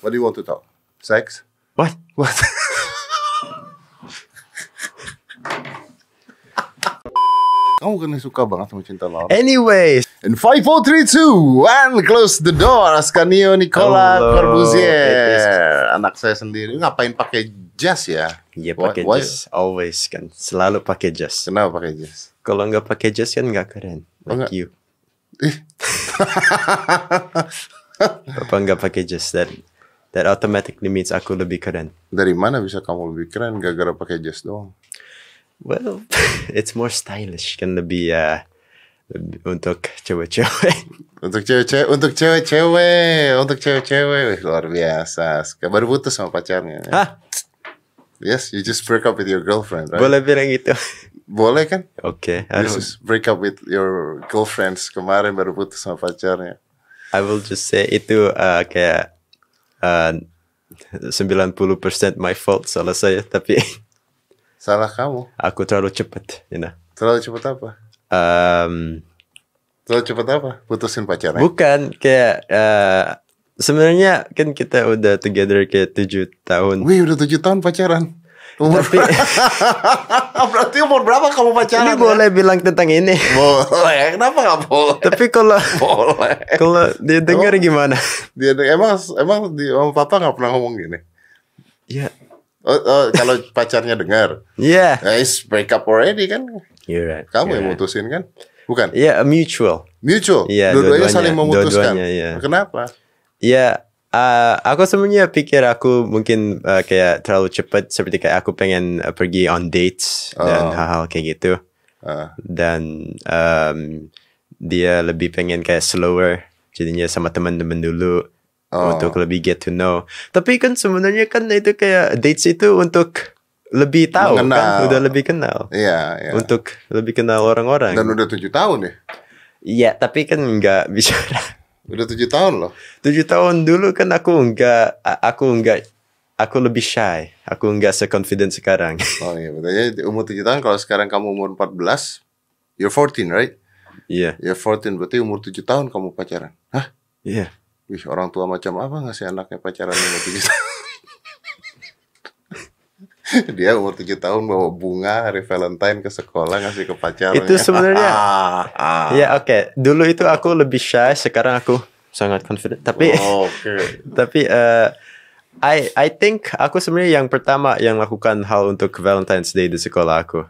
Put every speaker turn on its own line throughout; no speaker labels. What do you want to talk? Sex?
What?
What? Kamu kan suka banget sama cinta
Eh.
Laura.
Anyways,
In 5, 4, 3, 2, 1, close the door. Ascanio Nicola
Hello, it is-
Corbusier. Anak saya sendiri. Ngapain pakai jas ya?
ya
Why-
pakai
why-
jas always kan, selalu pakai jas.
Kenapa pakai jas?
Kalau nggak pakai jas kan nggak keren.
Enggak.
Like you. Apa nggak pakai jas that that automatically means aku lebih keren.
Dari mana bisa kamu lebih keren gara-gara pakai jas doang?
Well, it's more stylish kan lebih ya lebih- untuk cewek-cewek.
Untuk cewek-cewek, untuk cewek-cewek, untuk cewek-cewek Wih, luar biasa. Ska- Baru putus sama pacarnya. ya?
Hah?
Yes, you just break up with your girlfriend, right?
Boleh bilang gitu?
Boleh kan?
Oke, I,
You
don't-
just break up with your girlfriends kemarin baru putus sama pacarnya.
I will just say itu uh, kayak uh, 90% my fault salah saya tapi
Salah kamu.
aku terlalu cepat, you know.
Terlalu cepet apa?
Um,
Terlalu cepet apa? Putusin pacarnya.
bukan kayak uh, sebenarnya kan kita udah together kayak tujuh tahun.
Wih, udah tujuh tahun pacaran. Umur
Tapi
Berarti umur berapa kamu
ini
pacaran? ya?
boleh bilang tentang ini.
Boleh. Kenapa nggak boleh?
Tapi kalau
Boleh.
kalau dia dengar
Oh.
gimana?
Dia emang emang di om papa nggak pernah ngomong gini.
Ya,
Oh, oh, kalau pacarnya dengar,
yeah.
eh, it's break up already kan?
Ya. You're right.
Kamu
you're
yang
right.
mutusin kan? Bukan.
Ya, a mutual.
Mutual.
Iya,
dua-duanya
dua-duanya,
saling memutuskan.
dua-duanya, iya.
Kenapa?
Ya, eh, aku sebenarnya pikir aku mungkin eh, kayak terlalu cepat seperti kayak aku pengen eh, pergi on dates
Oh.
dan hal-hal kayak gitu.
Ah,
dan um, dia lebih pengen kayak slower jadinya sama teman-teman dulu
Oh.
untuk lebih get to know tapi kan sebenarnya kan itu kayak dates itu untuk lebih tahu
Mengenal.
kan udah lebih kenal
iya, iya.
untuk lebih kenal orang-orang
Dan udah tujuh tahun ya.
iya tapi kan nggak bicara
Udah tujuh tahun loh.
tujuh tahun dulu kan aku nggak a- aku nggak aku lebih shy aku nggak se-confident sekarang
Oh iya, berarti umur tujuh tahun. Kalau sekarang kamu umur 14, you're 14, right?
iya
You're 14, berarti umur tujuh tahun kamu pacaran. Hah?
iya
Wih, orang tua macam apa ngasih anaknya pacaran umur tujuh tahun? Dia umur tujuh tahun bawa bunga hari Valentine ke sekolah ngasih ke pacarnya.
Itu sebenarnya-
Ah, ah.
iya oke dulu itu aku lebih shy sekarang aku sangat confident tapi
Oh, Oke.
Tapi eh, I I think aku sebenarnya yang pertama yang lakukan hal untuk Valentine's Day di sekolah aku.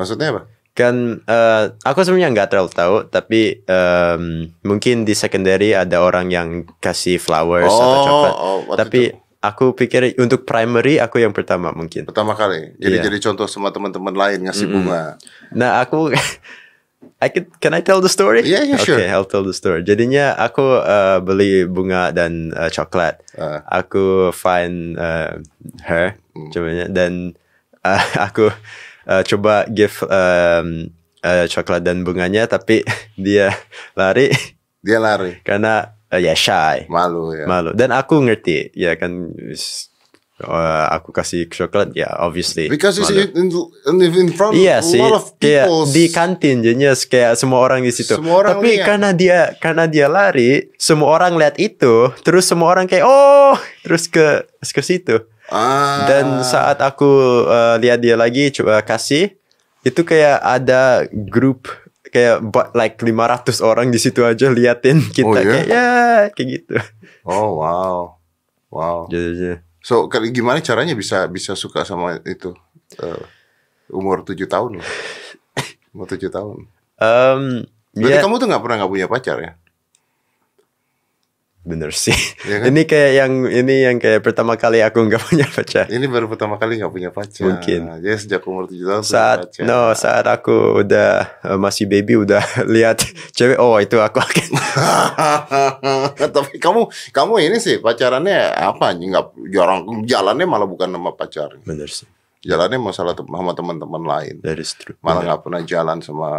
Maksudnya apa?
Kan eh, aku sebenarnya nggak terlalu tahu tapi em, mungkin di secondary ada orang yang kasih flowers atau
Oh,
coklat.
oh, waktu
tapi
itu.
aku pikir untuk primary aku yang pertama mungkin.
Pertama kali. Jadi
Iya.
jadi contoh sama teman-teman lain ngasih bunga.
Nah, aku I can, can I tell the story?
Yeah, yeah, sure.
Okay, I'll tell the story. Jadinya aku eh, beli bunga dan eh, coklat.
Ah. Hmm.
Aku find eh, her, cobanya dan eh, aku eh, coba give em, eh, coklat dan bunganya, tapi dia lari
Dia lari.
karena eh, ya shy,
Malu ya.
malu. Dan aku ngerti, ya kan. is- eh, aku kasih coklat, ya obviously.
Because it's
malu.
in, in, in front of a
Iya sih,
lot of
kayak
people.
di kan- kantin jadinya kayak semua orang di situ.
Semua orang ya?
Tapi
lihat.
karena dia karena dia lari, semua orang lihat itu, terus semua orang kayak oh, terus ke ke situ.
Ah.
Dan saat aku uh, lihat dia lagi coba kasih, itu kayak ada grup kayak ba- like 500 orang di situ aja liatin kita
Oh, iya?
kayak ya kayak gitu.
Oh wow, wow. iya.
Jadinya.
So ke- gimana caranya bisa bisa suka sama itu Eh, umur tujuh tahun loh. umur tujuh tahun.
Um,
Berarti
ya-
kamu tuh nggak pernah nggak punya pacar ya?
bener sih.
Iya kan?
Ini kayak yang ini yang kayak pertama kali aku nggak punya pacar.
Ini baru pertama kali nggak punya pacar.
Mungkin.
Jadi sejak umur tujuh tahun punya
saat
pacar.
no saat aku udah eh, masih baby udah lihat cewek oh itu aku akan
Tapi kamu kamu ini sih pacarannya apa? Nggak jarang jalannya malah bukan sama pacarnya.
bener sih
Jalannya masalah tem- sama teman-teman lain.
that is true
Malah nggak pernah jalan sama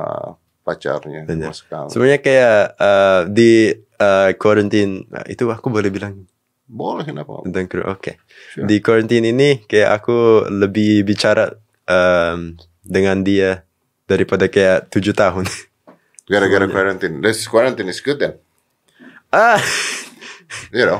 pacarnya sama
Bener.
sekali.
sebenarnya kayak eh, di eh, quarantine eh, itu aku boleh bilang
Boleh kenapa?
tentang kru oke
Sure.
di quarantine ini kayak aku lebih bicara em, dengan dia daripada kayak tujuh tahun
Gara-gara ya? quarantine. This quarantine is good then.
ah
You know. Iya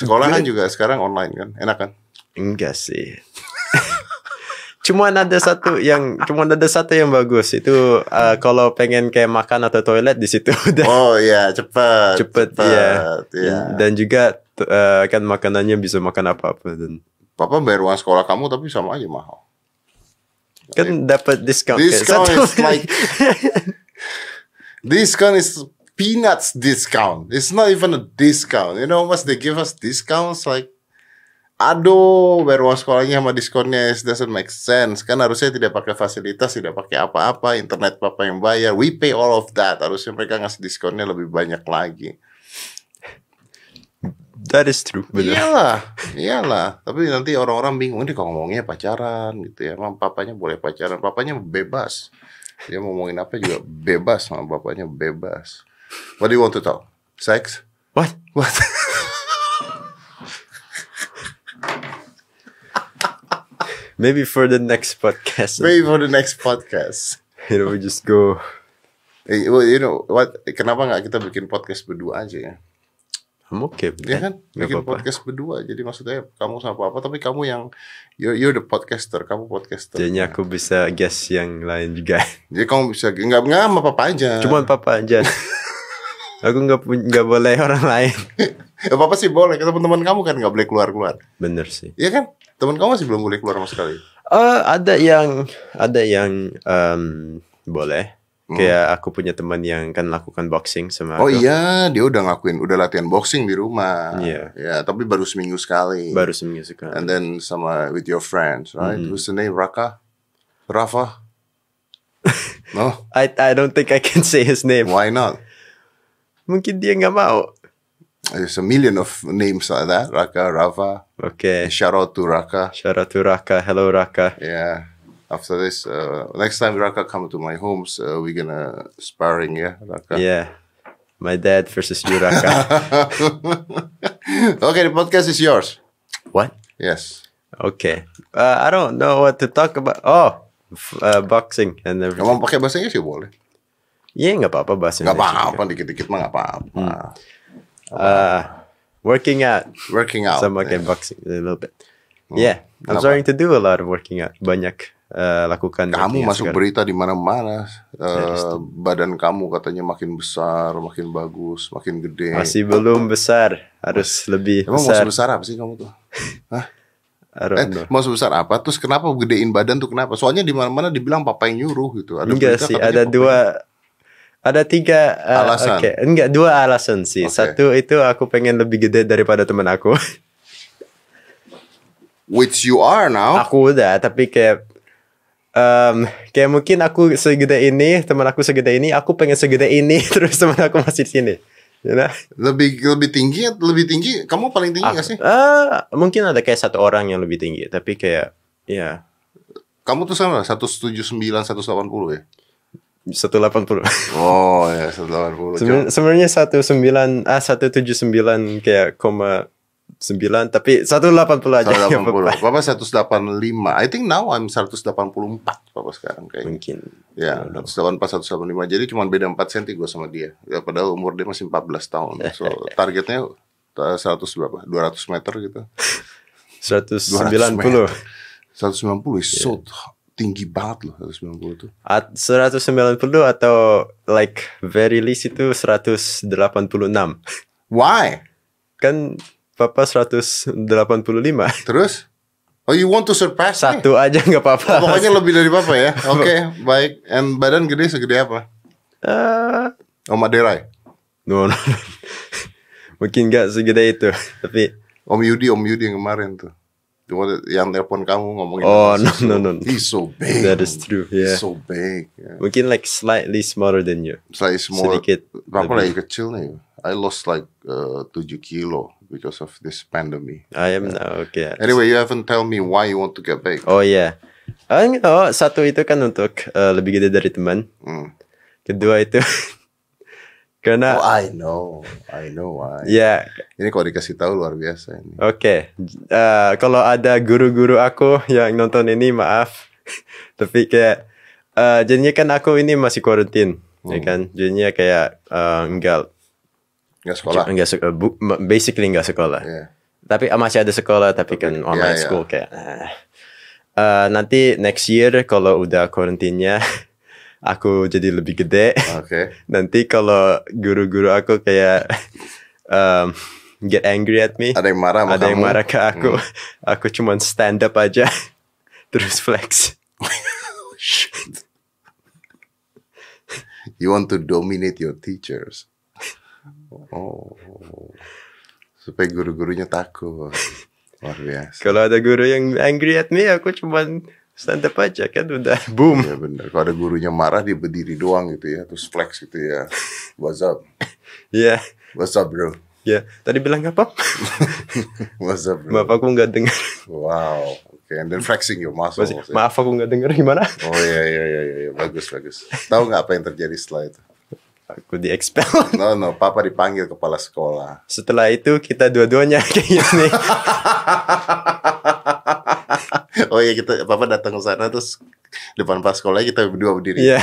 Sekolahan
Iya.
juga sekarang online kan, enak kan?
Enggak sih. cuman ada satu yang cuman ada satu yang bagus itu eh, kalau pengen kayak makan atau toilet di situ udah
Oh iya, cepet.
cepet ya.
iya.
Dan juga t- eh, kan makanannya bisa makan apa-apa dan
Papa bayar uang sekolah kamu tapi sama aja mahal.
kan dapat diskon. kayak
Iya. Discount
satu-
is like discount is peanuts discount. It's not even a discount. You know how much they give us discounts like aduh bayar uang sekolahnya sama diskonnya it doesn't make sense kan harusnya tidak pakai fasilitas tidak pakai apa-apa internet papa yang bayar we pay all of that harusnya mereka ngasih diskonnya lebih banyak lagi
That is true. Benar.
Iyalah, iyalah. Tapi nanti orang-orang bingung ini kalau ngomongnya pacaran gitu ya. Emang papanya boleh pacaran, papanya bebas. Dia mau ngomongin apa juga bebas sama bapaknya bebas. What do you want to talk? Sex?
What?
What?
Maybe for the next podcast.
Maybe for the next podcast.
You know, we just go.
Eh, well, You know what? Kenapa nggak kita bikin podcast berdua aja ya?
I'm okay. with
Ya
that.
kan?
Eh, Nggak
Bikin
apa-apa.
podcast berdua. Jadi maksudnya kamu sama apa? Tapi kamu yang you're, you're the podcaster. Kamu podcaster.
Jadinya aku bisa guess yang lain juga.
Jadi kamu bisa nggak nggak sama papa aja.
Cuman papa aja. aku nggak pun- nggak boleh orang lain.
ya, papa sih boleh. Teman-teman kamu kan nggak boleh keluar keluar.
Bener sih.
Iya kan? Temen kamu masih belum boleh keluar sama sekali.
Eh, ada yang ada yang em, boleh. Kayak aku punya teman yang kan lakukan boxing sama
Hmm. Oh
aku.
iya, dia udah ngakuin, udah latihan boxing di rumah.
Iya.
Ya, tapi baru seminggu sekali.
Baru Hmm. seminggu sekali.
And then sama with your friends, right? Who's the name? Raka? Rafa? no?
I I don't think I can say his name.
Why not?
Mungkin dia nggak mau.
There's a million of names like that. Raka, Rafa.
Oke.
Shout out to Raka.
Shout out to Raka. Hello Raka.
Yeah. After this, uh, next time Raka come to my homes, uh, we're gonna sparring, yeah, Raka.
Yeah. My dad versus you Raka.
okay, the podcast is yours.
What?
Yes.
Okay. Uh, I don't know what to talk about. Oh, f- uh, boxing and everything.
Ngomong pakai bahasa Inggris ya boleh.
Yeah, nggak apa-apa bahasa
Gak
Indonesia
apa-apa dikit-dikit mah gak apa-apa.
Hmm. juga. Uh, working out
Working out.
sama kayak boxing a little bit.
Oh,
Yeah, I'm
Kenapa?
starting to do a lot of working out. Banyak uh, lakukan.
kamu
working out
masuk
sekarang.
berita di mana-mana.
Ya,
Eh, badan kamu katanya makin besar, makin bagus, makin gede.
Masih belum besar, harus
ya?
lebih
Emang mau
besar.
sebesar apa sih kamu tuh?
I don't
Eh,
know.
mau sebesar apa? Terus kenapa gedein badan tuh kenapa? Soalnya di mana-mana dibilang papa yang nyuruh gitu. Ada
Enggak
berita
sih,
katanya
ada
papa
dua ada tiga uh,
Alasan.
oke. Enggak dua alasan sih.
Oke.
Satu itu aku pengen lebih gede daripada teman aku.
yang- Which you are now.
aku udah tapi kayak em, kayak mungkin aku segede ini teman aku segede ini aku pengen segede ini terus teman aku masih di sini you know?
Lebih lebih tinggi, lebih tinggi. Kamu paling tinggi gak Iya sih?
Ah, mungkin ada kayak satu orang yang lebih tinggi tapi kayak ya
Kamu tuh sama 179, 180 ya?
180
Oh ya 180. Coba-
Seben- sebenarnya 19 ah 179 kayak koma 9 tapi 180 aja nggak apa-apa.
180. Papa 185. I think now I'm 184 Papa sekarang kayaknya.
mungkin
Ya, 184 185. Jadi cuma beda 4 cm gue sama dia. Ya, padahal umur dia masih 14 tahun. So targetnya uh, 100 berapa? 200 meter gitu.
190
190 is so t- tinggi banget loh 190 tuh.
At 190 atau like very least itu 186
Why?
kan papa 185
Terus? Oh, you want to surpass me?
satu aja nggak apa-apa
Oh, Pokoknya lebih dari papa ya. Oke, baik. And badan gede segede apa? Oh,
Eh,
Om Aderai.
no, no, no. mungkin nggak segede itu tapi
Om Yudi, Om Yudi yang kemarin tuh. Cuma yang telepon kamu ngomongin
Oh,
tentang
no,
susu.
no, no, no.
He's so big.
That is true, yeah.
He's so big. Yeah.
mungkin like slightly smaller than you
Slightly small.
Sedikit
Papa
lebih.
lagi kecil nih. I lost like uh, 7 kilo because of this pandemic.
I am now okay
Anyway, you haven't tell me why you want to get big.
oh yeah Ah, nggak, oh satu itu kan untuk eh, lebih gede dari teman
Hmm.
kedua itu karena
Oh, I know. I know why.
ya
Ini kalau dikasih tahu luar biasa ini.
Oke, Eh, kalau ada guru-guru aku yang nonton ini maaf, tapi kayak eh, jadinya kan aku ini masih quarantine,
Hmm.
ya kan? Jadinya kayak eh, enggak
Nggak sekolah. Ya.
enggak sek- eh, bu- ma- basically enggak sekolah.
Yeah.
tapi ah, masih ada sekolah tapi kan online
ya, ya.
school kayak ah. Eh, nanti next year kalau udah karantinnya aku jadi lebih gede
Oke.
nanti kalau guru-guru aku kayak um, get angry at me
Ada yang marah sama
ada
kamu?
yang
Hmm.
marah ke aku aku cuman stand up aja terus flex
You want to dominate your teachers. Oh. Supaya guru-gurunya takut. Luar biasa.
kalau ada guru yang angry at me aku cuman stand up aja kan udah boom
Ya bener. Kalau ada gurunya marah dia berdiri doang gitu ya, terus flex gitu ya. What's up?
ya
What's up, bro?
ya tadi bilang apa
What's up, bro?
maaf aku nggak dengar
Wow. Okay, and then flexing your muscles.
Masih,
ya.
maaf aku nggak dengar gimana
Oh iya iya iya iya iya. bagus bagus. Tahu nggak apa yang terjadi setelah itu?
aku di expel
No no, papa dipanggil kepala sekolah.
setelah itu kita dua-duanya kayak gini
Oh iya kita papa datang ke sana terus depan pas sekolah kita berdua berdiri.
ya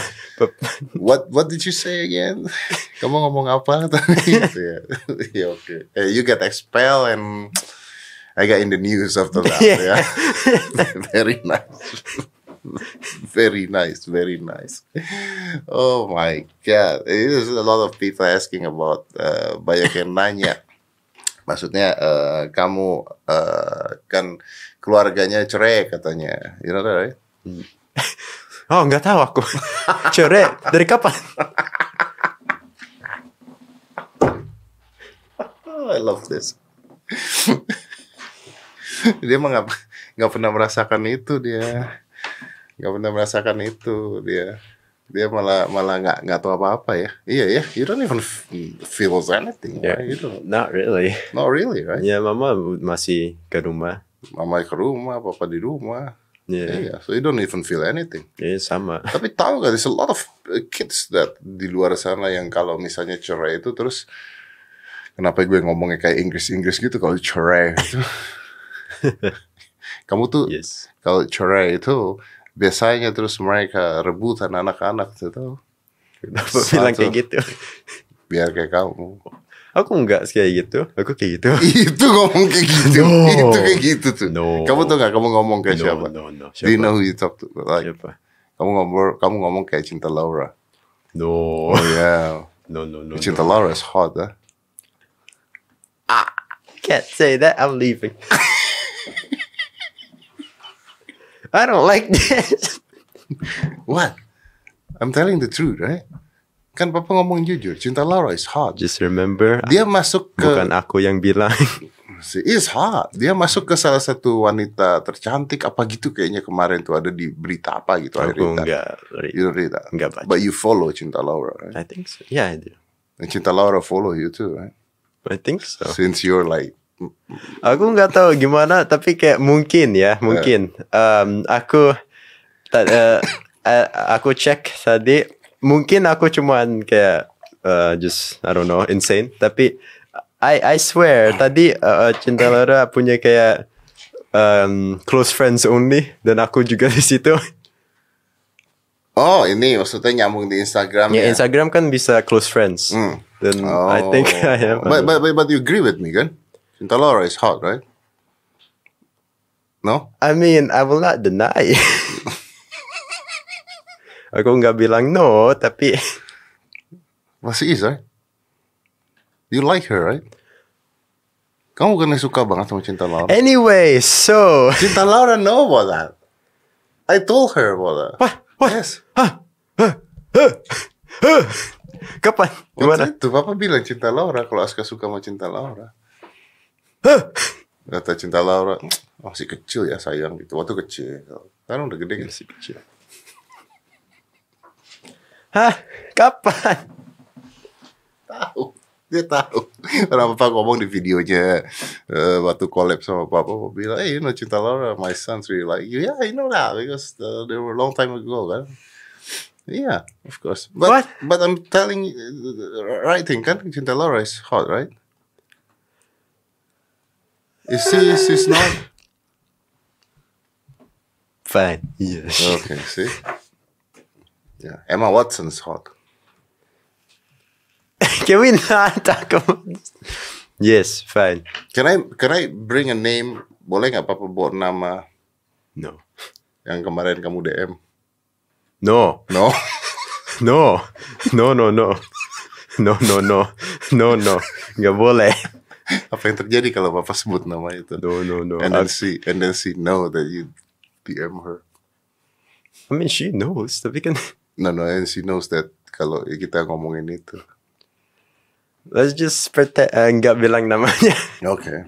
What what did you say again? Kamu ngomong apa tadi? Gitu ya. Ya oke. Eh, you get expelled and I got in the news after that. ya.
Yeah.
very nice. very nice, very nice. Oh my god. It is a lot of people asking about uh, banyak yang nanya. Maksudnya eh, kamu eh, kan keluarganya cerai katanya. You know that right?
oh nggak tahu aku cerai dari kapan
Oh, I love this. dia emang nggak nggak pernah merasakan itu dia, nggak pernah merasakan itu dia. Dia malah malah nggak nggak tahu apa apa ya. Iya ya, you don't even f- feels anything.
Yeah.
Right? You don't,
not really
not really right.
Ya mama masih ke rumah.
Mama ke rumah, papa di rumah.
Ya,
Iya, so you don't even feel anything.
ya, sama.
Tapi tahu gak, there's a lot of uh, kids that di luar sana yang kalau misalnya cerai itu terus kenapa gue ngomongnya kayak Inggris-Inggris gitu kalau cerai itu. Kamu tuh
Yes.
kalau cerai itu biasanya terus mereka rebutan anak-anak itu
Kenapa bilang
Satu.
kayak gitu?
biar kayak kamu.
Aku enggak kayak gitu. Aku kayak gitu.
itu ngomong kayak gitu.
No.
Itu kayak gitu tuh.
No.
Kamu tuh gak kamu ngomong kayak
No,
siapa?
no, no.
Do you
Siapa?
know who you talk to? Like,
Siapa?
kamu ngomong kamu ngomong kayak Cinta Laura.
No.
Oh yeah.
No, no, no.
Cinta Laura is hot, huh?
Can't say that. I'm leaving. I don't like this.
What? I'm telling the truth, right? Kan papa ngomong jujur, cinta Laura is hot.
Just remember,
Dia masuk ke
bukan aku yang bilang.
she is hot. Dia masuk ke salah satu wanita tercantik apa gitu kayaknya kemarin tuh ada di berita apa gitu I
aku
read that.
enggak.
You don't read that.
Enggak baca.
But you follow cinta Laura, right?
I think so. Yeah, I do.
And cinta Laura follow you too, right?
I think so.
Since you're like
Aku nggak tahu gimana, tapi kayak mungkin ya, mungkin. Em, aku ta- eh, eh, aku cek tadi, mungkin aku cuman kayak eh, just I don't know, insane. Tapi I I swear tadi eh, eh, Cinta Laura punya kayak em, close friends only dan aku juga di situ.
Oh, ini maksudnya nyambung di Instagram ya.
Ya Instagram kan bisa close friends.
Hmm.
Dan
Oh.
I think I am.
But, but, but, but you agree with me kan? Cinta Laura is hot, right? No?
I mean, I will not deny. aku nggak bilang no, tapi
Well, she is, right? You like her, right? Kamu bukannya suka banget sama Cinta Laura?
anyway, so
Eh, Cinta Laura know about that. I told her about that.
What? What?
Yes.
kapan?
Gimana?
Gimana?
Itu Papa bilang Cinta Laura kalau Aska suka sama Cinta Laura. Kata Cinta Laura, "Oh, masih kecil ya sayang gitu. Waktu kecil. Sekarang udah gede kan?
Hah? Kapan?
Tahu. Dia tahu. Karena Papa ngomong di videonya eh, waktu collab sama Papa, Papa bilang, "Eh, you know Cinta Laura, my son's really like you." Yeah, I know that because uh, they were a long time ago kan. Yeah, of course. But
What?
but I'm telling you the right thing kan Cinta Laura is hot, right? Is she she's not?
Fine. Yes.
Okay, see. Yeah, Emma Watson's hot.
Can we not talk about this? Yes, fine.
Can I can I bring a name? Boleh nggak apa-apa buat nama
No.
yang kemarin kamu DM?
No.
No.
No. No, no, no. No, no, no. No, no. Nggak boleh.
apa yang terjadi kalau bapak sebut nama itu?
No, no, no.
And then
I,
she and then she know that you DM her.
I mean, she knows. Tapi kan...
No no and she knows that kalau kita ngomongin itu.
Let's just pretend... eh, Nggak bilang namanya.
Okay.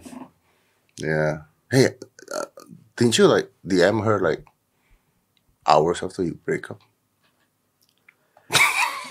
Yeah. Hey, uh, didn't you like DM her like hours after you break up?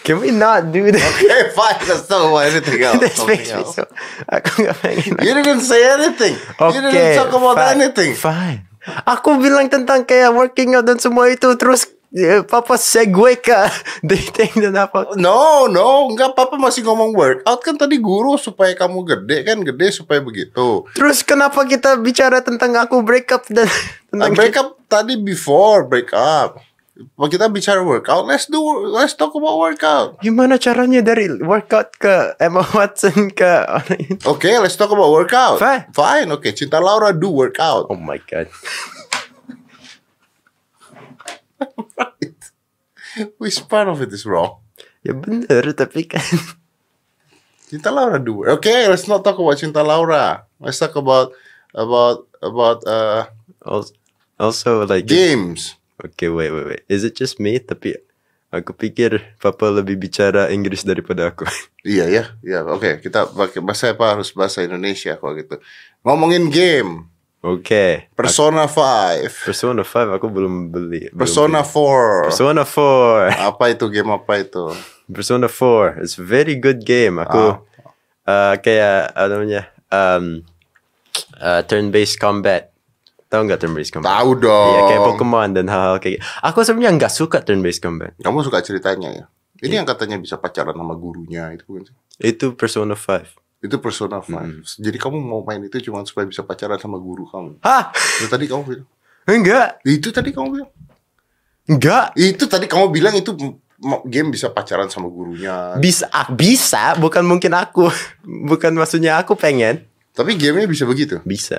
Can we not do that?
Hey, fine. Let's talk about anything else.
This
something
makes me
else.
so... Aku nggak pengen.
You didn't say anything. You didn't
Okay,
talk about
fine,
anything.
Fine. Aku bilang tentang kayak working out dan semua itu terus eh, Papa segue ke dating dan apa?
No, no, enggak papa masih ngomong workout kan tadi guru supaya kamu gede kan gede supaya begitu.
Terus kenapa kita bicara tentang aku break up dan
Nah,
tentang
break up tadi before break up. Kita bicara workout, let's do let's talk about workout.
gimana caranya dari workout ke Emma Watson ke orang ini?
Oke, okay, let's talk about workout.
Fine.
Fine, oke. Cinta Laura do workout.
Oh my god.
Which part of it is wrong?
Ya bener tapi kan
Cinta Laura do. work- Oke, okay, let's not talk about Cinta Laura. Let's talk about about about uh,
also, also like
games.
Okay, wait, wait, wait. Is it just me? Tapi aku pikir papa lebih bicara Inggris daripada aku.
Iya ya, iya. Oke, kita pakai bahasa apa harus bahasa Indonesia kalau gitu. Ngomongin game.
Oke.
Persona 5,
Persona 5 aku belum beli. belum
Persona 4.
beli. Persona 4.
Apa itu game apa itu?
Hmm. Persona 4. It's a very good game. Aku uh, kayak apa namanya? Um, uh, turn-based combat. Tahu nggak turn-based combat?
Tahu dong.
Iya, kayak Pokemon dan hal-hal kayak gitu. Aku sebenarnya nggak suka turn-based combat.
Kamu suka ceritanya ya? Ini yang katanya bisa pacaran sama gurunya itu bukan sih?
Itu Persona 5.
Itu Persona 5. Jadi kamu mau main itu cuma supaya bisa pacaran sama guru kamu.
Hah?
Itu tadi kamu bilang.
Enggak.
Itu tadi kamu bilang.
Enggak.
Itu tadi kamu bilang itu m- game bisa pacaran sama gurunya.
Bisa, ah, bisa, bukan mungkin aku. Bukan maksudnya aku pengen.
Tapi gamenya bisa begitu.
Bisa.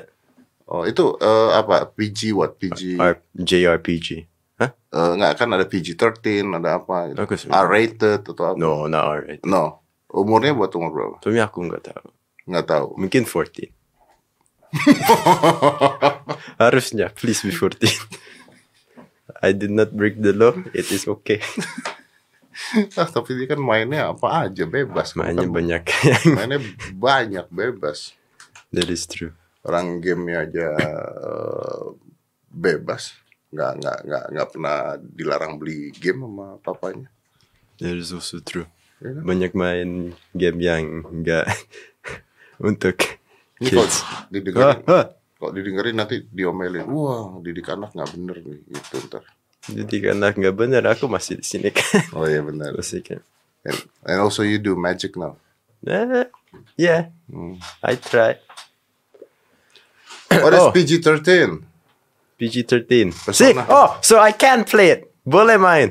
Oh, itu eh, apa? PG what? PG
R- JRPG. Hah?
eh, enggak kan ada PG-13, ada apa gitu.
Aku sih-
R-rated atau apa?
No, not alright.
No. Umurnya buat umur berapa?
Sebenarnya aku nggak tahu.
Nggak tahu.
Mungkin 14. Harusnya, please be 14. I did not break the law. It is okay.
Ah, tapi dia kan mainnya apa aja bebas.
Makanya
Bukan-
banyak yang...
mainnya banyak bebas.
That is true.
orang gamenya aja eh, bebas nggak nggak nggak nggak pernah dilarang beli game sama papanya
That is also true.
Iya kan?
Banyak main game yang nggak untuk
ini kok
kids.
didengerin
Ah, ah.
kok didengerin nanti diomelin wah didik anak nggak bener nih gitu ntar
Jadi karena nggak bener, aku masih di sini kan.
oh iya benar
Masih kan.
and, and also you do magic now
Eh, yeah,
Hmm.
I try.
what is
Oh.
PG-13
PG-13. See?
Persona.
Oh, so I can play it. Boleh main.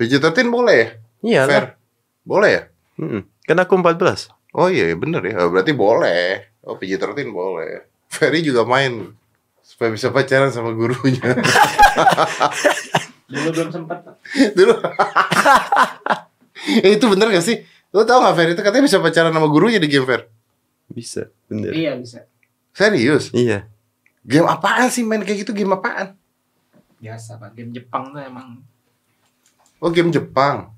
PG-13 boleh ya
Iya
fair
lah.
boleh ya
Mm-mm. Kan aku 14.
oh iya bener ya Oh, berarti boleh oh PG-13 boleh Ferry juga main supaya bisa pacaran sama gurunya
Dulu belum sempat. Pak.
dulu Eh, itu bener gak sih lo tau gak Fer itu katanya bisa pacaran sama gurunya di game Fer
Bisa, bener.
Iya bisa.
serius
Iya.
game apaan sih main kayak gitu game apaan
Biasa pak. Game Jepang tuh emang.
oh game Jepang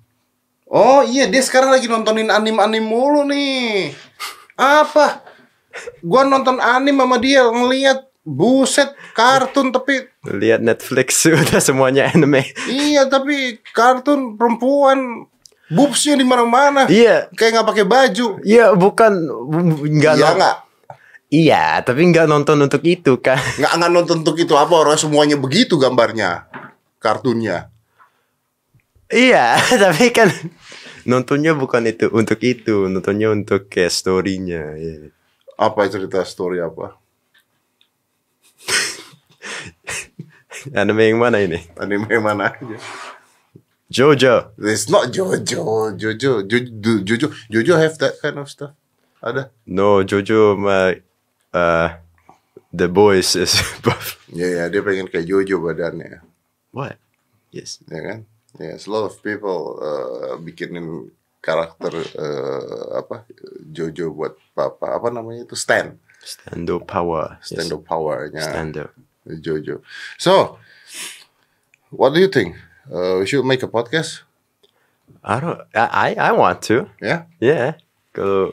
oh iya dia sekarang lagi nontonin anim anim mulu nih apa gua nonton anim sama dia ngeliat buset kartun tapi
Lihat Netflix udah semuanya anime.
iya tapi kartun perempuan boobsnya di mana mana
Iya.
kayak nggak pakai baju
Iya, bukan enggak
iya nggak
Iya, tapi nggak nonton untuk itu kan.
nggak nggak nonton untuk itu apa orang semuanya begitu gambarnya kartunnya
iya, tapi kan nontonnya bukan itu untuk itu, nontonnya untuk kayak story-nya. Iya.
apa cerita story apa
Anime yang mana ini?
anime mana aja
Jojo.
it's not Jojo Jojo Jojo Jojo Jojo have that kind of stuff Ada.
No, Jojo my uh the boys is buff.
Ya ya dia pengen kayak Jojo badannya,
What? Yes.
ya kan? Yes, a lot of people uh, bikinin karakter uh, apa Jojo buat papa apa namanya itu stand
Stand up power.
stand up powernya
Yes. Stand up.
Jojo. So, what do you think? Uh, we should make a podcast,
I don't I I, I want to.
ya?
Yeah. Kalau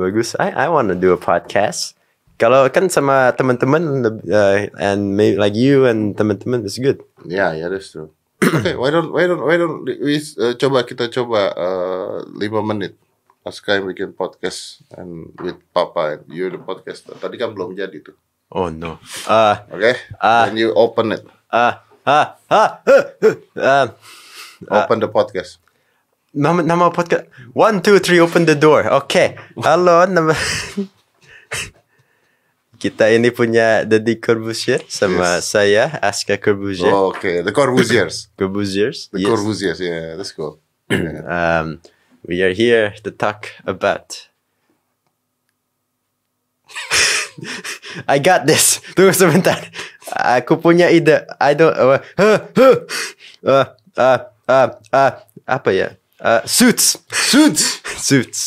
bagus, I I want to do a podcast. Kalau kan sama teman-teman leb- uh, and maybe like you and teman-teman is good.
Ya, ya, that's true. Oke, why don't, why don't, why don't we uh, coba kita coba uh, lima menit. Aska yang bikin podcast and with Papa and you the podcast. Tadi kan belum jadi tuh.
Oh no. Uh
Oke,
Ah.
and you open it,
uh ah ah uh, uh, uh,
open the podcast.
nama nama podcast one two three open the door oke halo nama kita ini punya Deddy Corbusier sama
Yes.
saya Aska Corbusier
Oke, the Corbusiers,
Corbusiers
the
yes.
Corbusiers, yeah, let's go. Yeah.
um, we are here to talk about I got this tunggu sebentar aku punya ide I don't uh, huh, huh. Uh, uh, uh, uh, apa ya Uh, suits
Suits. Hmm.
Suits.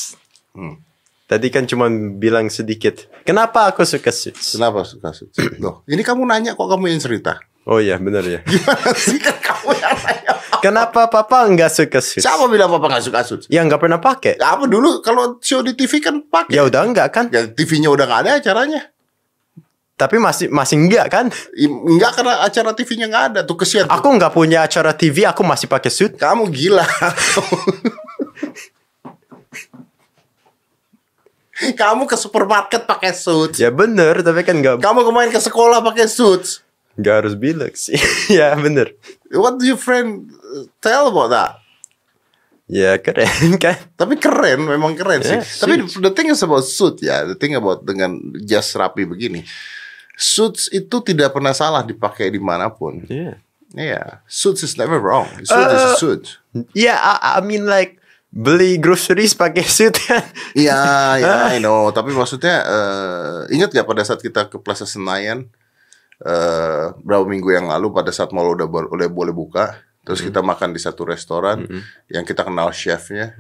Tadi kan cuma bilang sedikit. Kenapa aku suka Suits?
Kenapa suka suits? Loh, ini kamu nanya kok kamu yang cerita?
Oh iya, benar ya.
Gimana sih kan kamu yang nanya?
Kenapa papa nggak suka Suits?
Siapa bilang papa gak suka suits?
Ya nggak pernah pakai.
Apa dulu kalau show di TV kan pakai?
Ya udah nggak kan?
Ya, TV-nya udah gak ada acaranya.
Tapi masih masih nggak kan?
I- Enggak karena acara TV-nya gak ada tuh kesian. tuh.
Aku nggak punya acara TV, aku masih pakai suit.
Kamu gila. Kamu ke supermarket pakai suits.
Ya bener, tapi kan nggak
Kamu kemarin ke sekolah pakai suits.
nggak harus bilang sih. ya bener.
What do your friend uh, tell about that?
Ya keren kan?
Tapi keren, memang keren sih.
Yeah,
Tapi the thing is about suit ya, the thing about dengan jas rapi begini. Suits itu tidak pernah salah dipakai dimanapun.
Iya.
Iya, suits is never wrong. Suit is a
Eh.
suit.
Ya, I, I mean like beli groceries pakai suit kan?
Iya, ya, I know. Tapi maksudnya eh, ingat gak pada saat kita ke Plaza Senayan eh berapa minggu yang lalu pada saat mall udah bol- boleh boleh buka, terus kita makan di satu restoran yang kita kenal chefnya,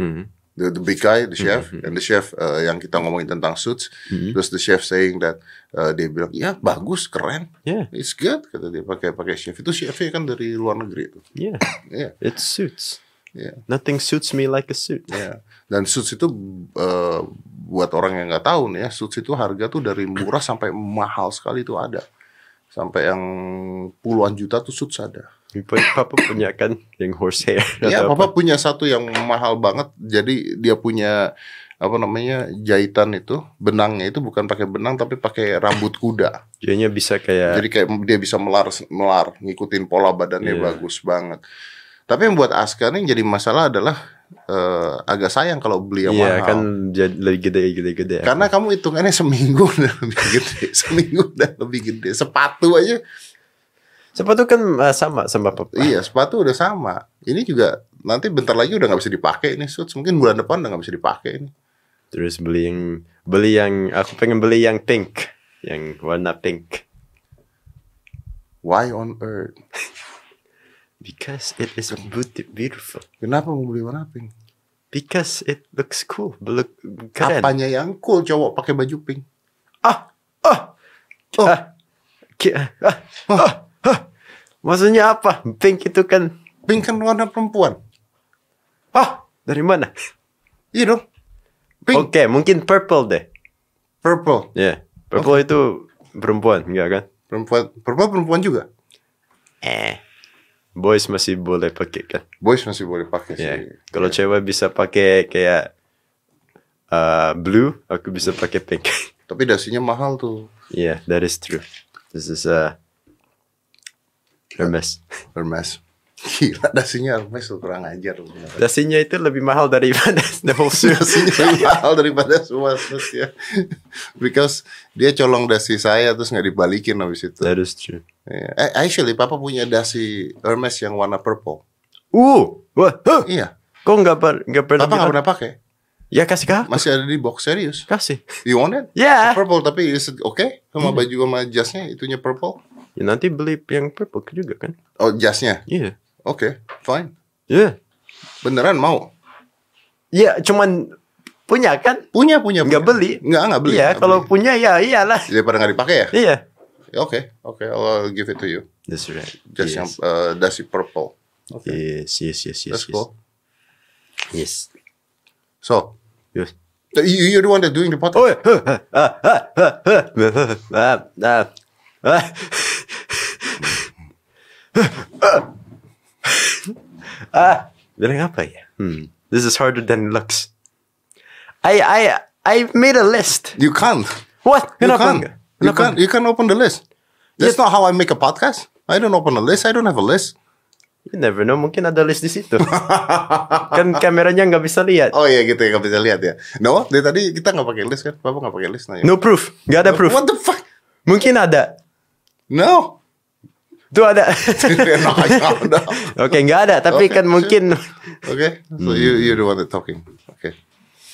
the, the big guy, the chef, and the chef eh, yang kita ngomongin tentang suits, terus the chef saying that eh, dia bilang ya bagus keren,
Yeah.
it's good kata dia pakai pakai chef itu chefnya kan dari luar negeri tuh,
Yeah,
Iya.
it suits.
Iya.
Nothing suits me like a suit.
Ya. Dan suits itu eh, buat orang yang nggak tahu nih ya, suits itu harga tuh dari murah sampai mahal sekali itu ada. Sampai yang puluhan juta tuh suits ada.
Pu- Papa punya kan yang horsehair.
Iya,
atau apa.
papa punya satu yang mahal banget. Jadi dia punya apa namanya jahitan itu benangnya itu bukan pakai benang tapi pakai rambut kuda.
Jadinya bisa kayak
Jadi kayak dia bisa melar melar ngikutin pola badannya
Iya.
bagus banget. Tapi yang buat Aska nih jadi masalah adalah eh, agak sayang kalau beli yang
Iya
mahal.
kan jadi lebih gede-gede.
Karena kamu hitungannya seminggu udah lebih gede, seminggu udah lebih gede. Sepatu aja,
sepatu kan uh, sama sama papa.
iya sepatu udah sama. Ini juga nanti bentar lagi udah nggak bisa dipakai ini suits. Mungkin bulan depan udah nggak bisa dipakai ini.
Terus beli yang beli yang aku pengen beli yang pink, yang warna pink.
Why on earth?
Because it is beauti- beautiful.
Kenapa mau beli warna pink?
Because it looks cool, look keren.
Apanya yang cool cowok pakai baju pink?
Ah, ah,
Oh.
ah, ki- ah, ah, ah. Maksudnya apa? Pink itu kan
Pink kan warna perempuan.
ah dari mana?
Iya dong. Pink,
Oke, mungkin purple deh.
purple,
Ya, purple itu perempuan, enggak kan?
perempuan, purple perempuan juga.
Eh. Boys masih boleh pakai kan?
Boys masih boleh pakai sih.
Ya. Kalau cewek bisa pakai kayak uh, blue, aku bisa pakai pink.
Tapi dasinya mahal tuh.
yeah, that is true. This is uh, Hermes.
Hermes. Gila dasinya Hermes tuh kurang ajar. loh.
Dasinya itu lebih mahal daripada the whole suit.
dasinya lebih mahal daripada semua sus ya. Because dia colong dasi saya terus nggak dibalikin habis itu.
that is true.
Iya. Eh, Actually, papa punya dasi Hermes yang warna purple.
Uh, wah, huh,
Iya.
kok nggak per nggak pernah?
Papa nggak
bilang?
pernah pakai.
Ya kasih kah?
Masih ada di box serius.
Kasih.
You want it?
Ya.
Purple tapi is it okay
Hmm.
sama baju sama jasnya itunya purple?
Ya, nanti beli yang purple juga kan?
Oh jasnya,
Iya.
oke, fine.
Iya.
Beneran mau?
Ya cuman punya kan?
Punya punya.
Nggak
punya.
beli.
Nggak nggak beli.
Iya
nggak
kalau
beli.
punya ya iyalah.
daripada nggak dipakai ya.
Iya.
Ya, Oke oke, I'll give it to you.
That's right.
Jas
yes.
yang eh, dasi purple. Oke,
Yes, yes, yes, yes.
that's
yes.
cool.
Yes.
So
Yes.
you you're the one that doing the podcast.
Oh, eh, eh, eh, ah, ah, ah, ah, ah, ah, ah. Ah, bilang apa ya? Hmm, this is harder than it looks. I I I made a list.
You can't.
What?
You
Kenapa
can't.
enggak?
You
Kenapa
can't. You can't open the list. That's not how I make a podcast. I don't open a list. I don't have a list.
enggak? You never know, mungkin ada list di situ. kan kameranya nggak bisa lihat.
Oh iya gitu ya nggak bisa lihat ya. No, dari tadi kita nggak pakai list kan? Bapak nggak pakai list nanya.
No proof, nggak ada proof.
What the fuck?
Mungkin ada.
No.
Tuh ada.
No, no, no.
Oke, nggak ada. Tapi
Oke,
kan
sure.
mungkin.
Okay, so you you the one that talking. Okay.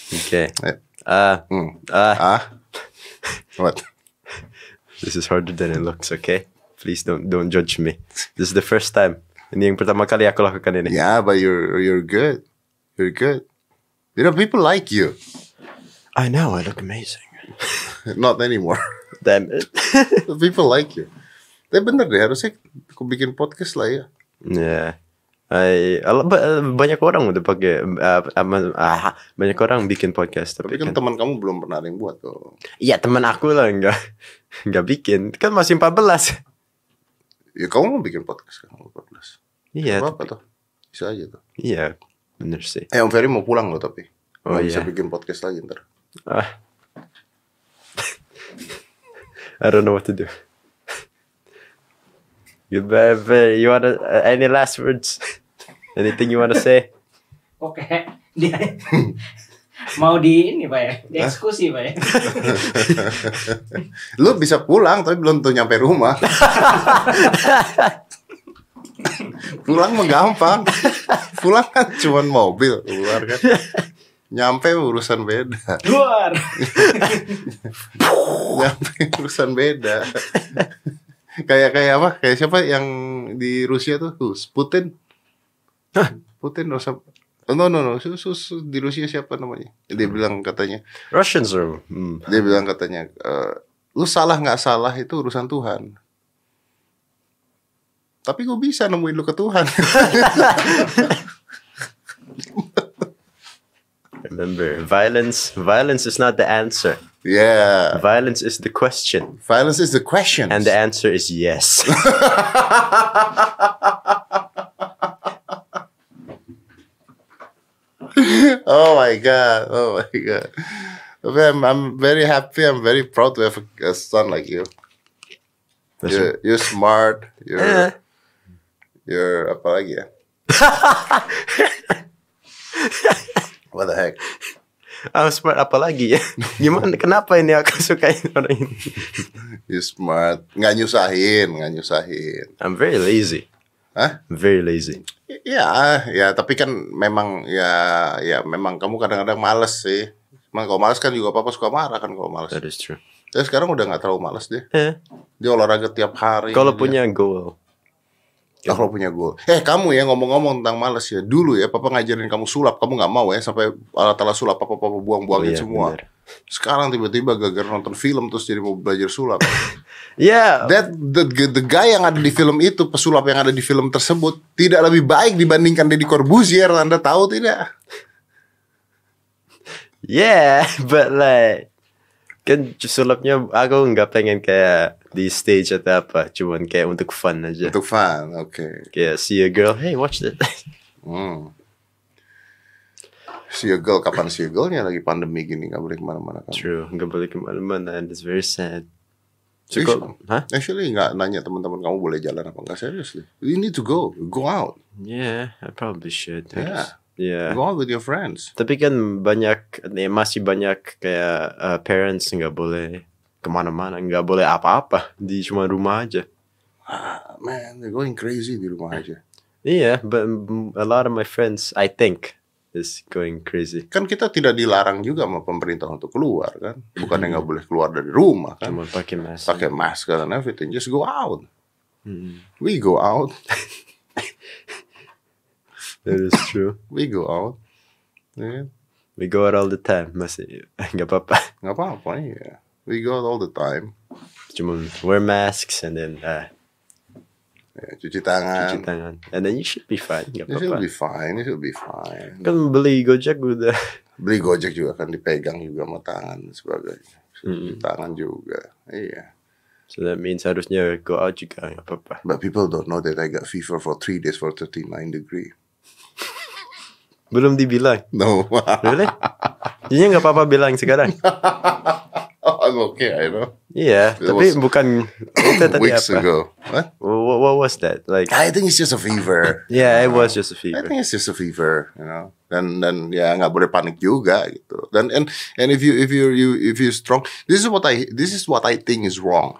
Oke.
Eh,
Ah,
Hmm.
ah.
Ah. What?
This is harder than it looks, okay? Please don't don't judge me. This is the first time. Ini yang pertama kali aku lakukan ini.
Yeah, but you're you're good. You're good. You know, people like you.
I know, I look amazing.
Not anymore.
Damn it.
people like you. Tapi bener deh harusnya aku bikin podcast lah ya.
yeah. I, al- ba- banyak orang udah pakai ah, ama- ah, banyak orang bikin podcast
Tapi
tapi
kan
kan
teman kamu belum pernah ada yang buat tuh.
iya teman aku lah enggak enggak bikin kan masih 14
Ya kamu mau bikin podcast kan? Podcast.
iya
Apa, apa tuh? Bisa aja tuh.
iya bener sih
Eh, Om Ferry mau pulang loh tapi.
Oh,
Nggak
iya.
bisa bikin podcast lagi ntar.
Ah. I don't know what to do. You better, you wanna uh, any last words? Anything you wanna say?
Oke, dia mau di ini pak ya, di eksekusi pak ya.
Lu bisa pulang tapi belum tuh nyampe rumah. pulang mah gampang. Pulang kan cuman mobil keluar kan. Nyampe urusan beda.
Luar.
Nyampe urusan beda. kayak kayak apa? Kayak siapa yang di Rusia tuh? Who's Putin. Putin Rusia. No no no, Su- su- su- di Rusia siapa namanya? Dia bilang katanya,
Russians are mm,
dia bilang katanya, "Eh, lu salah nggak salah itu urusan Tuhan. Tapi gue bisa nemuin lu ke Tuhan.
remember violence. Violence is not the answer.
yeah,
Violence is the question,
violence is the question.
and the answer is yes.
oh my god, oh my god. Tapi I'm, I'm very happy, I'm very proud to have a, a son like you.
That's
You're, you're smart, you're,
Eh.
you're apa lagi ya? What the heck?
I'm smart apalagi ya. Gimana? Kenapa ini aku sukain orang ini?
You're smart, nggak nyusahin, nggak nyusahin.
I'm very lazy.
Hah?
Very lazy.
Ya, ya, tapi kan memang ya, ya memang kamu kadang-kadang males sih. Emang kalau males kan juga papa suka marah kan kalau males.
That is true.
Tapi sekarang udah nggak terlalu males dia.
Eh,
Dia olahraga tiap hari.
kalau
dia-
punya goal,
Ah,
Iya.
kalau punya gue. Eh kamu ya ngomong-ngomong tentang males ya. Dulu ya papa ngajarin kamu sulap, kamu nggak mau ya sampai alat-alat sulap papa papa buang-buangin
Iya,
semua.
bener.
Sekarang tiba-tiba gara-gara nonton film terus jadi mau belajar sulap.
Yeah,
That the, the guy yang ada di film itu, pesulap yang ada di film tersebut tidak lebih baik dibandingkan Deddy Corbuzier, Anda tahu tidak?
Yeah, but like kan sulapnya aku nggak pengen kayak di stage atau apa, cuman kayak untuk fun aja.
Itu fun, oke.
Kayak see a girl, hey watch that.
Hmm. Siegel kapan siegelnya lagi pandemi gini nggak boleh kemana-mana kan?
True, nggak boleh kemana-mana and it's very sad. So,
Ih,
kok- Hah?
Actually nggak nanya teman-teman kamu boleh jalan apa nggak serius nih. You need to go, go out,
Yeah, I probably should. I
Yeah.
just- Yeah.
go out with your friends.
Tapi kan banyak, eh, masih banyak kayak eh, parents nggak boleh kemana-mana, nggak boleh apa-apa di cuma rumah aja.
Ah, man, they're going crazy di rumah aja.
Iya, Yeah, but mm, a lot of my friends, I think, is going crazy.
Kan kita tidak dilarang juga sama pemerintah untuk keluar kan. Bukannya nggak boleh keluar dari rumah kan.
Cuma pakai mask.
Pakai masker and everything. Just go out.
Mm,
We go out.
that is true.
We go out. Ya kan?
We go out all the time. Masih eh, nggak apa-apa.
Nggak apa-apa ya. We go out all the time.
Cuma wear masks and then uh,
Ya, cuci tangan.
cuci tangan. And then you should be fine. Nggak
You should
apa-apa.
be fine. You should be fine.
Kan beli Gojek udah.
Beli Gojek juga kan dipegang juga sama tangan dan sebagainya. Cuci
Mm.
tangan juga. Iya.
So that means harusnya go out juga nggak apa-apa.
But people don't know that I got fever for three days for 39 degree.
Belum dibilang.
No.
Really? Jadinya nggak apa-apa bilang sekarang.
I'm okay, I know.
Iya,
It
tapi
was
bukan itu tadi
Weeks
apa?
ago. What?
What, what was that? Like,
I think it's just a fever.
yeah, it was just a
I
fever.
think it's just a fever, you know. Dan dan ya nggak boleh panik juga gitu. Dan and and if you if you you if you strong, this is what I this is what I think is wrong.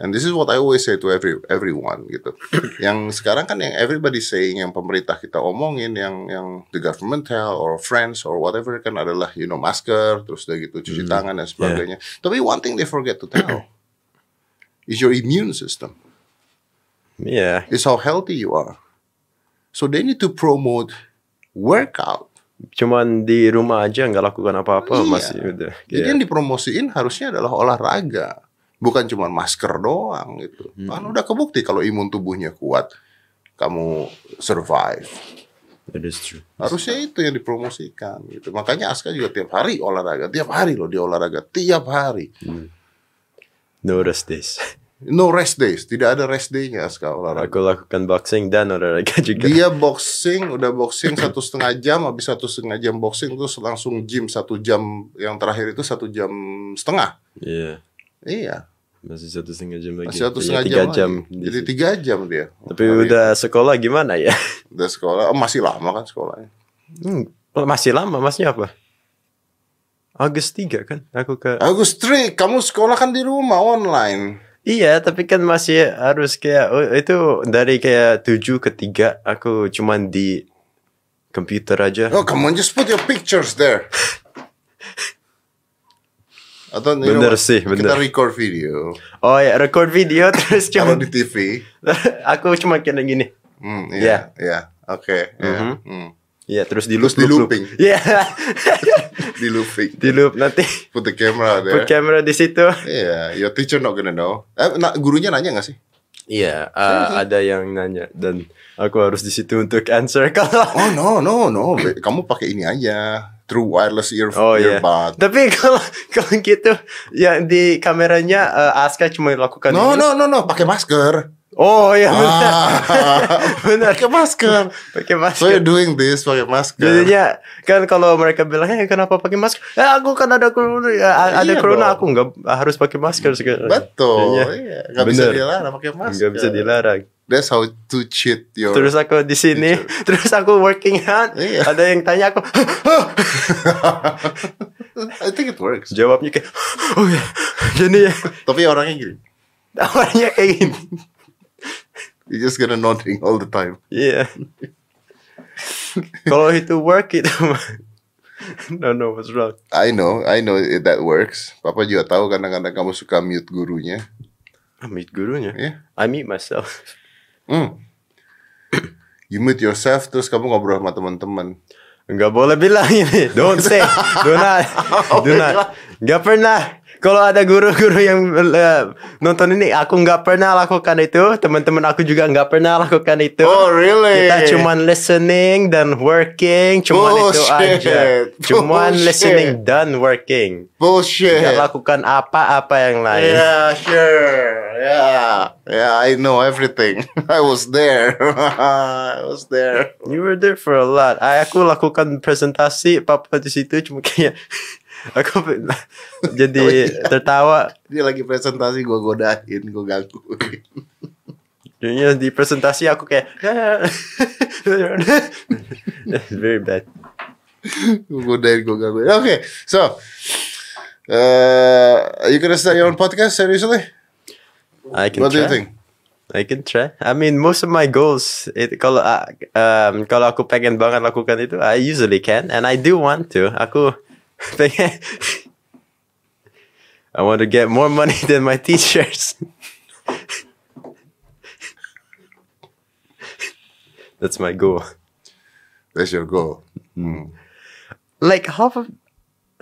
And this is what I always say to every everyone gitu. yang sekarang kan yang everybody saying yang pemerintah kita omongin yang yang the government tell or friends or whatever kan adalah you know masker terus udah gitu cuci tangan dan sebagainya. Tapi one thing they forget to tell is your immune system.
Yeah,
It's how healthy you are. So they need to promote workout.
cuman di rumah aja nggak lakukan
Iya.
apa-apa masih udah.
Jadi
Yeah.
yang dipromosiin harusnya adalah olahraga, bukan cuma masker doang gitu. Kan udah kebukti kalau imun tubuhnya kuat, kamu survive.
That is true.
Harusnya itu yang dipromosikan gitu. Makanya Aska juga tiap hari olahraga, tiap hari loh dia olahraga, tiap hari.
Notice this.
No rest days, tidak ada rest day-nya Aska olahraga.
Aku lakukan boxing dan olahraga juga.
Dia boxing, udah boxing satu setengah jam, habis satu setengah jam boxing terus langsung gym satu jam, yang terakhir itu satu jam setengah.
Iya,
Iya,
masih satu setengah jam lagi.
masih satu
Iya,
setengah
tiga
jam,
jam.
lagi. Jadi tiga jam dia.
Tapi
Hari
udah sekolah gimana ya?
udah sekolah, oh, masih lama kan sekolahnya.
Hmm, masih lama, masnya apa? Agus 3 kan? Aku ke
Agus Tri, kamu sekolah kan di rumah online.
Iya, tapi kan masih harus kayak oh, itu dari kayak 7 ke 3 aku cuman di komputer aja.
Oh, come on, just put your pictures there. Atau you
Bener
what,
sih,
Kita
bener.
record video
Oh ya, record video terus
kalau
cuma
di TV.
aku cuma kayak gini.
Hmm,
Iya.
iya, iya. Oke, iya.
Mhm.
Hmm.
Iya, terus di
Terus
loop
di
loop, loop.
looping.
Iya.
Di looping.
di loop nanti
Put the camera
put
there.
kamera di situ.
Iya, your teacher not gonna know. Eh, nah, gurunya nanya gak sih?
Iya, uh, ada yang nanya dan aku harus di situ untuk answer kalau
Oh no no no, Be- kamu pakai ini aja through wireless ear
Oh iya.
earbud.
Tapi kalau kalau gitu yang di kameranya eh, Aska cuma lakukan
No
ini.
no no no, pakai masker.
Oh iya benar.
Ah,
Benar.
pakai masker. So
Pakai masker.
you're doing this pakai masker.
Jadinya kan kalau mereka bilang, "Eh, kenapa pakai masker?" Eh, aku kan ada corona, ya, ada
Iya
corona
dong.
aku nggak harus pakai masker sekarang.
Betul.
Jadinya,
Iya, nggak bisa
Bener.
dilarang pakai masker.
Nggak bisa dilarang.
That's how to cheat your.
Terus aku di sini, terus aku working out.
Iya.
Ada yang tanya aku,
I think it works.
jawabnya kayak, "Oh ya." Jadi ya,
Tapi orangnya gini,
awalnya kayak gini.
you just gonna nodding all the time.
Iya. Kalau itu work itu No no what's wrong.
I know, I know it, that works. Papa juga tahu kadang-kadang kamu suka mute gurunya.
I meet gurunya.
Iya.
I meet myself.
Hmm. You mute yourself terus kamu ngobrol sama teman-teman.
Enggak boleh bilang ini. Don't say. Do not. Do not. Enggak pernah. Kalau ada guru-guru yang eh, nonton ini, aku nggak pernah lakukan itu. Teman-teman aku juga nggak pernah lakukan itu.
Oh, really?
Kita cuman listening dan working, cuman itu
Bullshit.
aja. Cuman
Bullshit.
listening dan working.
bullshit.
Nggak lakukan apa-apa yang lain.
Yeah, sure. Yeah. Yeah, I know everything. I was there. I was there.
You were there for a lot. Ah, Aku lakukan presentasi, papa di situ cuma kayak aku pe-
Oh, iya.
jadi tertawa.
Dia lagi presentasi gue godain, gue gangguin.
Jadinya di presentasi aku kayak That's very bad.
Gue godain, gue gangguin. Okay, so uh, are you gonna start your own podcast seriously?
I can
What do you
try.
think?
I can try. I mean, most of my goals, it, kalau ah, um, kalau aku pengen banget lakukan itu, I usually can, and I do want to. Aku pengen. I want to get more money than my teachers. That's my goal.
That's your goal. Hmm.
Like half of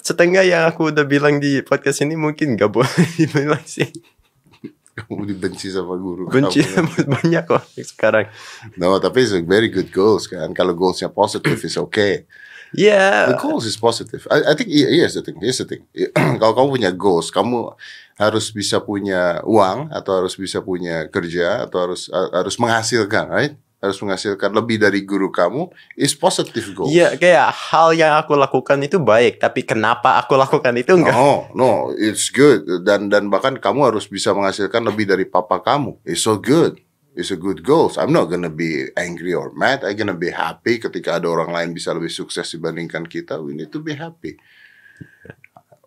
setengah yang aku udah bilang di podcast ini mungkin gak boleh dibilang sih.
Kamu dibenci sama guru.
Benci
kamu.
sama banyak kok sekarang.
No, tapi it's a very good goals kan. Kalau goalsnya positive is okay.
Yeah.
The goals is positive. I, I think here- here's the thing. Here's the thing. Kalau kamu punya goals, kamu harus bisa punya uang atau harus bisa punya kerja atau harus ha- harus menghasilkan, right? Harus menghasilkan lebih dari guru kamu is positive goals.
Iya, kayak hal yang aku lakukan itu baik, tapi kenapa aku lakukan itu enggak?
No, no, it's good. Dan dan bahkan kamu harus bisa menghasilkan lebih dari papa kamu. It's so good. It's a good goals. I'm not gonna be angry or mad. I'm gonna be happy ketika ada orang lain bisa lebih sukses dibandingkan kita. We need to be happy.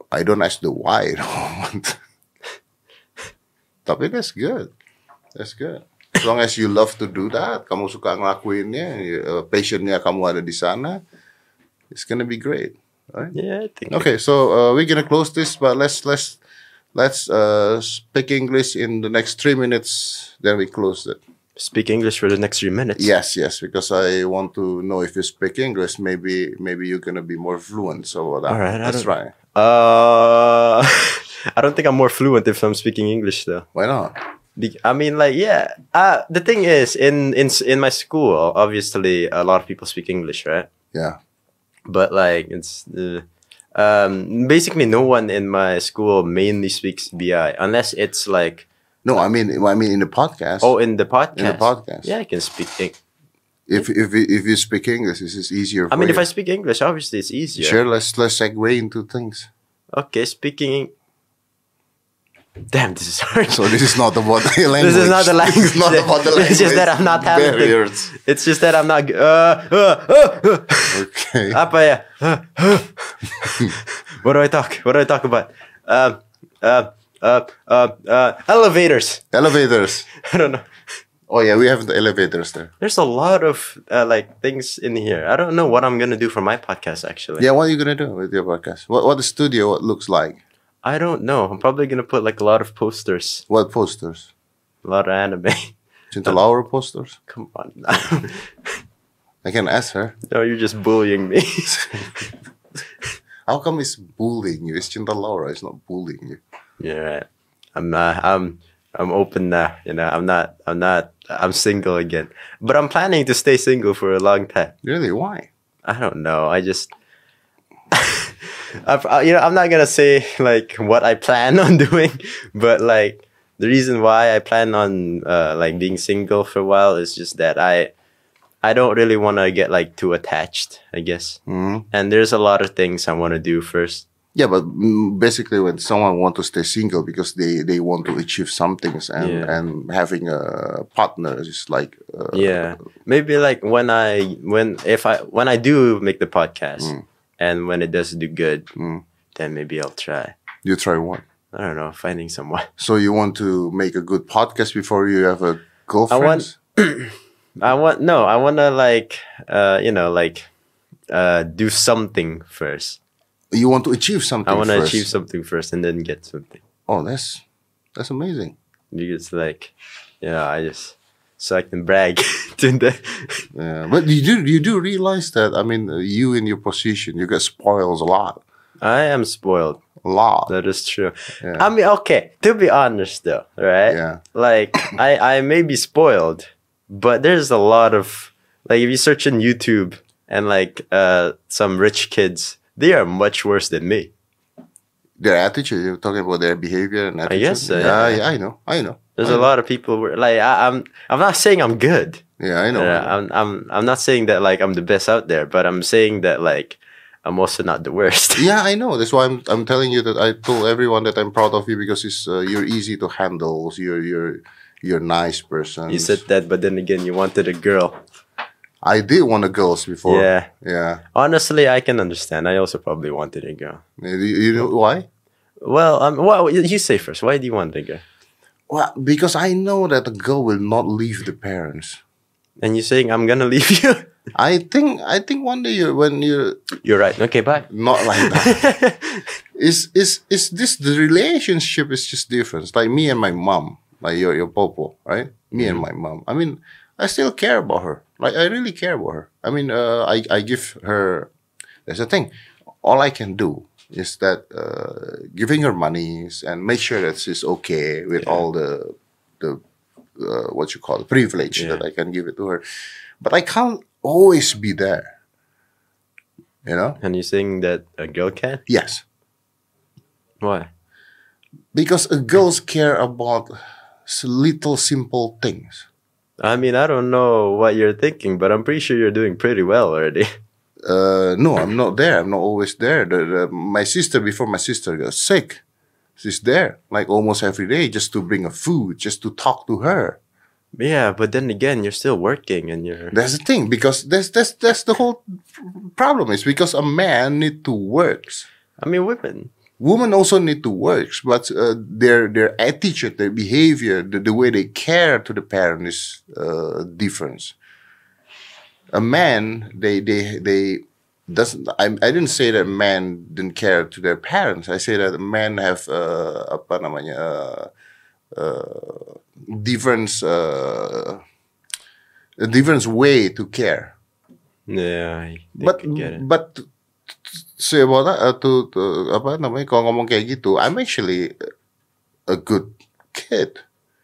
I don't ask the why. I don't want- Tapi that's good. That's good. As long as you love to do that, kamu suka ngelakuinnya, you- uh, passionnya kamu ada di sana, it's gonna be great. Right?
Yeah, I think.
Okay, so uh, we're gonna close this, but let's let's let's uh, speak English in the next three minutes. Then we close it.
Speak English for the next three minutes.
Yes, yes, because I want to know if you speak English. Maybe maybe you're gonna be more fluent. So that,
All right, I
let's
don't-
try.
Uh, I don't think I'm more fluent if I'm speaking English though.
Why not?
Be- I mean, like, yeah. Uh, the thing is, in in s- in my school, obviously, a lot of people speak English, right?
Yeah.
But like, it's uh, um, basically no one in my school mainly speaks BI unless it's like
No, I mean I mean in the podcast.
oh in the podcast.
In the podcast.
yeah, I can speak. Eng-
if if you- if you speak English, this is easier. For
I mean, if
you.
I speak English, obviously it's easier.
sure, let's let's segue into things.
Okay, speaking. Damn, this is hard.
So this is not about the language.
not the
This is not
language.
about the language.
It's just that I'm not talented.
Barriers.
It's just that I'm not. g- Uh, uh, uh, uh.
Okay.
Apa ya? Uh, uh. what do I talk? What do I talk about? Um, uh, uh, uh, uh, elevators.
Elevators.
I don't know.
Oh yeah, we have the elevators there.
There's a lot of uh, like things in here. I don't know what I'm gonna do for my podcast actually.
Yeah, what are you gonna do with your podcast? What what the studio what looks like?
I don't know. I'm probably gonna put like a lot of posters,
What posters?
a lot of anime.
Cinta Laura posters?
Come on.
I can ask her.
no, you're just bullying me.
How come it's bullying you? It's Cinta Laura. It's not bullying you.
Yeah, right. I'm uh, I'm I'm open now. You know, I'm not I'm not I'm single again. But I'm planning to stay single for a long time.
Really? Why?
I don't know. I just I've, I, you know, I'm not gonna say like what I plan on doing, but like the reason why I plan on uh, like being single for a while is just that I I don't really want to get like too attached, I guess.
Mhm.
And there's a lot of things I want to do first.
Yeah, but mm, basically, when someone wants to stay single because they they want to achieve some things, and
Yeah.
and having a partner is like uh,
yeah maybe like when i when if i when i do make the podcast and when it does do good
Mm.
then maybe i'll try
you try one.
i don't know finding someone
So you want to make a good podcast before you have a girlfriend?
i want no i want to like uh you know like uh do something first
You want to achieve something.
i want to
first.
achieve something first and then get something
Oh, that's that's amazing.
because like yeah i just so i can brag to the
Yeah, but you do you do realize that I mean uh, you in your position you get spoils a lot,
i am spoiled
a lot.
that is true
Yeah.
i mean okay to be honest though right
yeah,
like I I may be spoiled, but there's a lot of like if you search in YouTube and like uh some rich kids, they are much worse than me.
their attitude. You're talking about their behavior and attitude.
guess so,
yeah,
yeah.
yeah, I know, I know.
There's
I
a
know.
lot of people where like I, I'm I'm not saying I'm good.
Yeah, I know.
Uh,
I know.
I'm I'm I'm not saying that like I'm the best out there, but I'm saying that like I'm also not the worst.
yeah, I know. That's why I'm I'm telling you that I told everyone that I'm proud of you because it's uh, you're easy to handle. You're you're you're a nice person.
you said that, but then again, you wanted a girl.
I did want a girls before.
Yeah.
yeah.
Honestly, I can understand. I also probably wanted a girl.
You, you know why?
Well, um, well, you you say first. Why do you want a girl?
Well, because I know that the girl will not leave the parents.
And you're saying I'm gonna leave you.
I think I think one day you when you
You're right. Okay, bye.
not like that. Is is is this the relationship is just different. It's Like me and my mom, like your your popo, right? Me and my mom. I mean, I still care about her. Like I really care about her. I mean, uh, I I give her. That's the thing. All I can do is that uh, giving her monies and make sure that she's okay with all the the uh, what you call the privilege
Yeah.
that I can give it to her. But I can't always be there. You know?
and you're saying that a girl can?
Yes.
Why?
Because uh, girls care about s- little simple things.
I mean, I don't know what you're thinking, but I'm pretty sure you're doing pretty well already.
Uh, no, I'm not there. I'm not always there. The, the, my sister, before my sister got sick, she's there like almost every day just to bring her food, just to talk to her.
yeah, but then again, you're still working and you're.
That's the thing because that's that's that's the whole problem is because a man need to works.
I mean, women.
Women also need to works, but uh, their their attitude, their behavior, the, the way they care to the parent is uh, different. A man, they they they doesn't. I, I didn't say that men didn't care to their parents. I say that men have uh, apa namanya uh, uh, different uh, a different way to care
Yeah, I think
but
I get it.
but so about that, uh, to, to apa namanya kalau ngomong kayak gitu I'm actually a good kid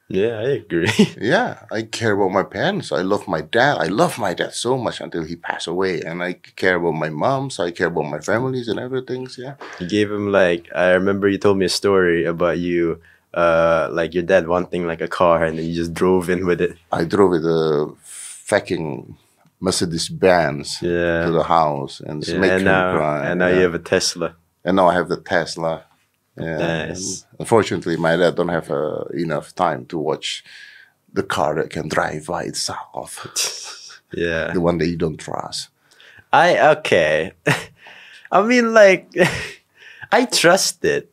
Yeah, I agree.
yeah I care about my parents I love my dad I love my dad so much until he passed away and I care about my mom so I care about my families and everything so yeah
you gave him like I remember you told me a story about you, uh, like your dad wanting like a car and then you just drove in with it.
I drove with a fucking Mercedes Benz to
Yeah.
the house and
Yeah,
yeah, make
and
him
now,
cry
and now
yeah.
you have a Tesla.
and now I have the Tesla. Yeah.
Nice.
And Unfortunately, my dad don't have uh, enough time to watch the car that can drive by itself,
Yeah.
the one that you don't trust.
I okay. I mean, like, I trust it,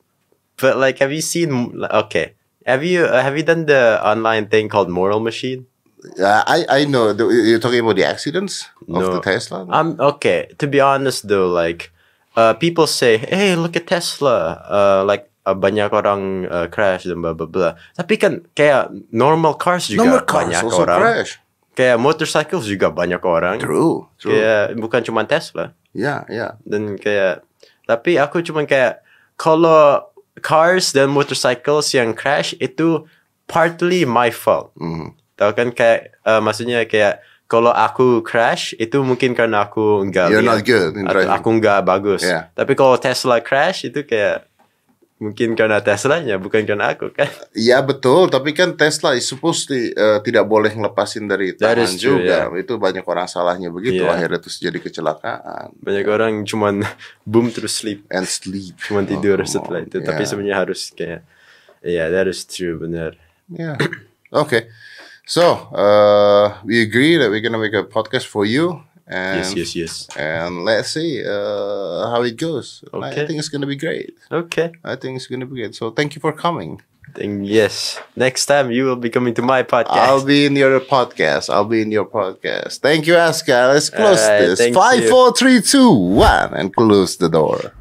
but like, have you seen? Okay, have you uh, have you done the online thing called Moral Machine?
Uh, I I know the, you're talking about the accidents of the
No. Ah,
Tesla.
I'm okay. To be honest, though, like, uh, people say, "Hey, look at Tesla." Uh, like. Uh, banyak orang uh, crash dan blah blah blah. Tapi kan kayak normal cars juga
Number cars
banyak
also
orang.
crash.
Kayak motorcycles juga banyak orang.
True. True. Yeah.
Kayak bukan cuma Tesla.
Yeah. Yeah.
dan kayak tapi aku cuma kayak kalau cars dan motorcycles yang crash itu partly my fault
Mm-hmm.
tau kan kayak eh, maksudnya kayak kalau aku crash itu mungkin karena aku nggak
You're not
lihat
good in
atau
driving.
aku nggak bagus
Yeah.
tapi kalau Tesla crash itu kayak mungkin karena Teslanya bukan karena aku kan
Iya betul, tapi kan Tesla is supposed to, eh, tidak boleh ngelepasin dari
That
tangan
is true,
juga. Itu banyak orang salahnya begitu
Yeah.
akhirnya terus jadi kecelakaan.
banyak orang cuman boom terus sleep
And sleep.
cuman
Oh,
tidur
come
setelah
on.
itu tapi
Yeah.
sebenarnya harus kayak ya that is true benar
Yeah. okay. So uh, we agree that we're gonna make a podcast for you, and
yes yes yes
and let's see uh, how it goes. I
Okay.
think it's gonna be great.
okay
I think it's gonna be great. So thank you for coming.
Then yes, next time you will be coming to my podcast.
I'll be in your podcast. I'll be in your podcast. Thank you, Aska. Let's close
Alright,
this.
thank
Five,
you.
four, three, two, one, and close the door.